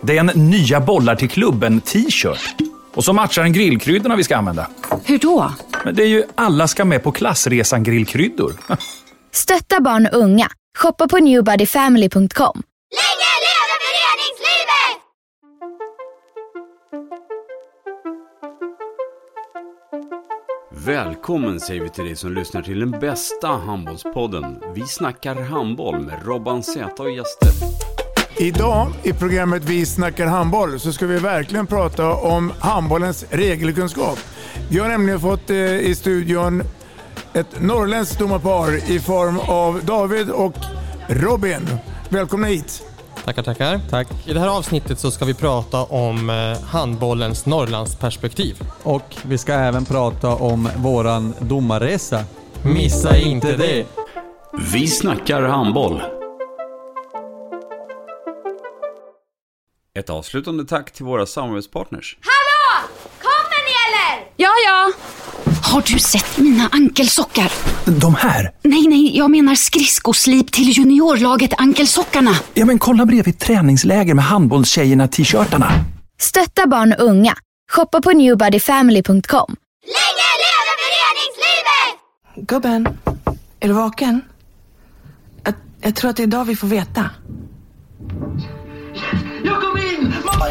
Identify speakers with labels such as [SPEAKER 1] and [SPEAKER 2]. [SPEAKER 1] Det är en nya bollar till klubben-t-shirt. Och så matchar den grillkryddorna vi ska använda.
[SPEAKER 2] Hur då?
[SPEAKER 1] Men det är ju alla ska med på klassresan grillkryddor.
[SPEAKER 3] Stötta barn och unga. Shoppa på newbodyfamily.com.
[SPEAKER 4] Länge leve föreningslivet!
[SPEAKER 5] Välkommen säger vi till dig som lyssnar till den bästa handbollspodden. Vi snackar handboll med Robban Z och gäster.
[SPEAKER 6] Idag i programmet Vi snackar handboll så ska vi verkligen prata om handbollens regelkunskap. Vi har nämligen fått eh, i studion ett norrländskt domarpar i form av David och Robin. Välkomna hit!
[SPEAKER 7] Tackar, tackar. Tack. I det här avsnittet så ska vi prata om eh, handbollens Norrlandsperspektiv.
[SPEAKER 8] Och vi ska även prata om våran domarresa.
[SPEAKER 7] Missa inte det!
[SPEAKER 5] Vi snackar handboll. Ett avslutande tack till våra samarbetspartners.
[SPEAKER 4] Hallå! Kommer ni eller?
[SPEAKER 2] Ja, ja. Har du sett mina ankelsockar?
[SPEAKER 1] De här?
[SPEAKER 2] Nej, nej, jag menar skridskoslip till juniorlaget Ankelsockarna.
[SPEAKER 1] Ja, men kolla bredvid träningsläger med handbollstjejerna-t-shirtarna.
[SPEAKER 3] Stötta barn och unga. Shoppa på newbodyfamily.com.
[SPEAKER 4] Länge leve föreningslivet!
[SPEAKER 9] Gubben, är du vaken? Jag, jag tror att det är idag vi får veta.
[SPEAKER 10] Jag kom in! Mamma,